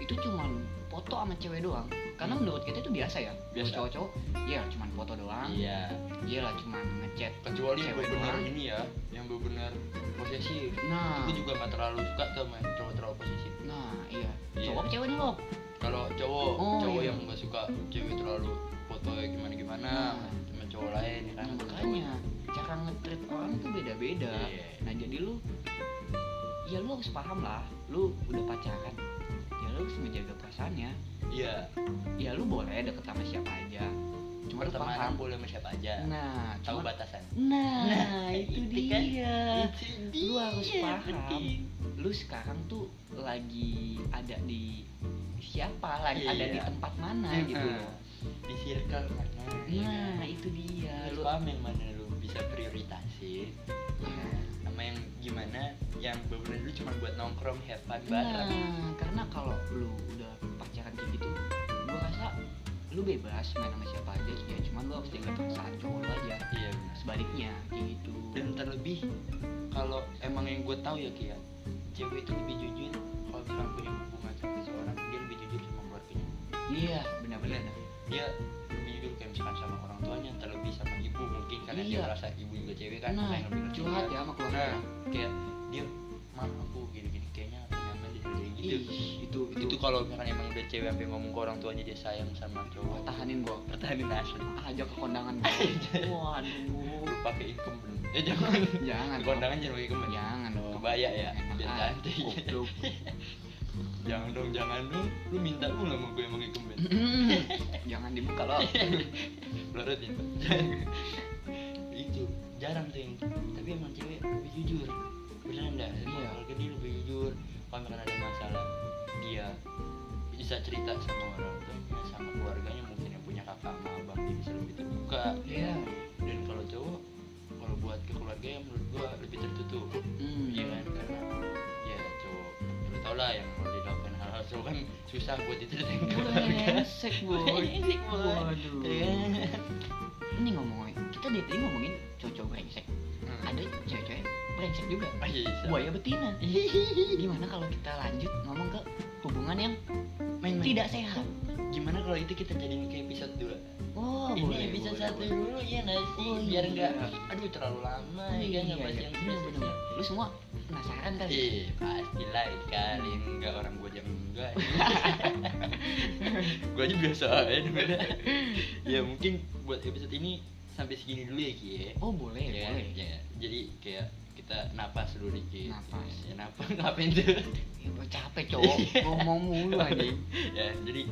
itu cuman foto sama cewek doang karena menurut kita itu biasa ya Biasa. cowok-cowok ya cuman foto doang iya iya lah cuman ngechat kecuali yang Cewek benar doang. ini ya yang benar posesif nah aku juga nggak terlalu suka tuh sama cowok terlalu posesif Nah, iya. Iya. Cowok apa cewek nih, Bob? kalau cowok Oh, cowok iya. yang nggak suka cewek terlalu foto gimana gimana Nah. sama cowok lain ya Nah, kan makanya cara nge-treat orang tuh beda-beda. Iya. Nah, jadi lu ya lu harus paham lah. Lu udah pacaran. Ya lu harus menjaga perasaannya. iya Ya lu boleh deket sama siapa aja. Cuma lu paham. pertemanan boleh sama siapa aja Nah, tahu cuma- batasan Nah, Nah, itu itu kan. dia. Itu Lu harus dia, paham. penting. Lu sekarang tuh lagi ada di siapa lagi ada di Iya. tempat mana gitu Mm-mm. loh. di circle mana ya kan? Nah, itu dia. lu Lu paham yang mana lu bisa prioritasin ya kan? sama yang gimana yang bener lu cuma buat nongkrong have fun Nah, bareng karena kalau lu udah pacaran kayak gitu, gua rasa lu bebas main sama siapa aja ya cuman lu harus jaga perasaan cowok lu aja iya benar sebaliknya kayak gitu dan terlebih kalau emang yang gue tahu ya Kia cewek itu lebih jujur kalau misalnya punya hubungan sama seseorang dia lebih jujur sama keluarganya iya benar-benar dia lebih jujur kayak misalkan sama orang tuanya terlebih sama ibu mungkin karena dia Iya. merasa ibu juga cewek kan nah makanya lebih ngerti curhat dia. ya sama nah keluarga kayak dia maaf aku gini gini kayaknya aku nyaman di sini kayak gitu Ih, itu itu kalau misalkan emang udah cewek sampai ngomong ke orang tuanya dia sayang sama Gua cowok tahanin gua pertahanin asli ajak ke kondangan (laughs) gua. waduh lu pakai income belum ya jangan jangan Di kondangan jangan pakai income jangan dong kebaya ya Emang biar ah, cantik iya. (laughs) goblok. jangan dong jangan dong lu minta dulu sama gue emang income jangan dibuka (laughs) Iya. loh Blurred (laughs) ya Pak. Itu jarang tuh yang Tapi emang cewek lebih jujur Beneran dah Emang Iya. Kalau dia lebih jujur Kalau misalkan ada masalah Dia bisa cerita sama orang tuanya Sama keluarganya mungkin yang punya kakak sama abang Dia bisa lebih terbuka iya Dan kalau cowok Kalau buat ke keluarga ya menurut gua lebih tertutup Hmm, Iya kan karena Ya cowok Lu tau lah yang mau dilakukan hal-hal cowok kan Susah buat diceritain ke keluarga Brengsek, Iya. (laughs) boy. Brengsek, boy. Waduh. Iya kan? Ini ngomongin, kita dari tadi ngomongin cowok-cowok brengsek. Hmm. Ada cewek-cewek brengsek juga. Oh, iya, bisa. Buaya betina. Gimana kalau kita lanjut ngomong ke hubungan yang Main-main. tidak sehat? Gimana kalau itu kita jadiin ke episode 2? Oh, ini boleh. episode boleh, satu boleh. dulu ya nggak sih? Oh, Biar iya. nggak, aduh terlalu lama ya kan nggak bahas iya, yang Iya. iya, bener. serius-serius. Lu semua penasaran kali? ya? Ih, pasti lah kan yang enggak orang gua yang enggak. (laughs) gua aja biasa aja dengernya. ya mungkin buat episode ini sampai segini dulu ya Ki ya. (laughs) Oh, boleh, Ya, boleh. ya. Jadi kayak kita napas dulu dikit. Napas. Ya, napas (laughs) ngapain tuh? Ya, gua capek, cowok. ngomong mulu anjing. Iya. ya, jadi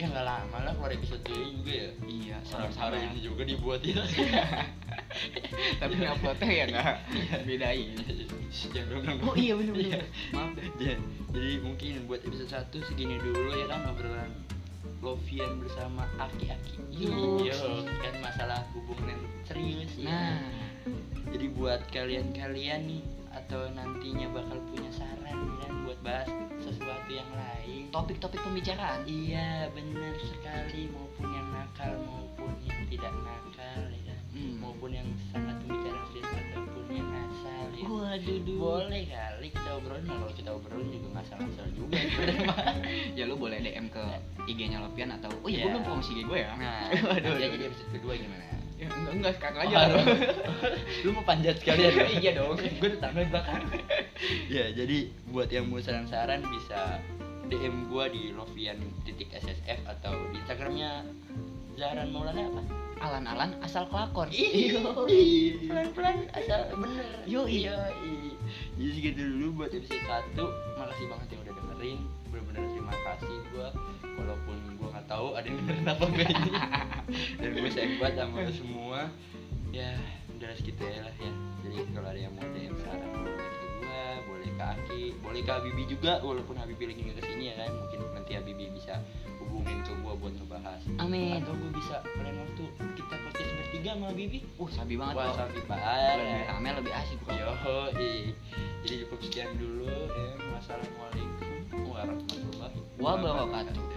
ya nggak lama lah keluar episode ini juga ya. Iya, Sama-sama sama-sama. ini juga dibuat ya. (laughs) Tapi nguploadnya (laughs) ya nggak Iya. bedain. Jangan dong. Oh iya bener Iya. bener. Maaf deh. Ya, jadi mungkin buat episode 1 segini dulu ya kan obrolan Lovian bersama Aki-Aki Yo. kan masalah hubungan yang serius ya. Nah, Jadi buat kalian-kalian nih Atau nantinya bakal punya saran dan buat bahas sesuatu yang lain topik-topik pembicaraan. Iya bener sekali maupun yang nakal maupun yang tidak nakal ya kan? Hmm. Maupun yang sangat pembicara serius ataupun yang asal ya Waduh, boleh kali kita obrolin Nah, kalau kita obrolin juga nggak salah-salah juga (laughs) sebenarnya, Mak. (laughs) Ya lu boleh DM ke IG-nya Lopian atau oh iya Ya. gua belum promosi IG gue ya. nah (laughs) Waduh. nanti aja di episode kedua gimana Ya, enggak enggak sekarang aja. Oh, (laughs) lu mau panjat sekalian (laughs) ya? Iya dong. gue udah tambah belakang (laughs) ya jadi buat yang mau saran-saran bisa DM gua di Lovian titik SSF atau di Instagramnya Zahran Maulana apa? (laughs) Alan-alan asal kelakon. Ih, Iya. pelan-pelan asal bener. Iya, Yoi. Yoi. Jadi segitu dulu buat episode 1 Makasih banget yang udah dengerin. Bener-bener terima kasih gua walaupun gua nggak tahu ada yang dengerin apa enggak ini. Dan gue sayang banget sama lu semua. Ya, udah harus kita ya lah ya. Jadi kalau ada yang mau DM saran boleh ke gua, boleh ke Aki, boleh ke Habibi juga walaupun Habibi lagi nggak kesini ya kan. Mungkin nanti Habibi bisa hubungin ke gua buat ngebahas Amin. atau gue bisa kalian waktu kita podcast bertiga sama Bibi ya? Uh, sabi banget wah kok. sampai Lebih parah rame lebih asik kok. yo jadi cukup sekian dulu ya wassalamualaikum warahmatullahi Wabarakatuh.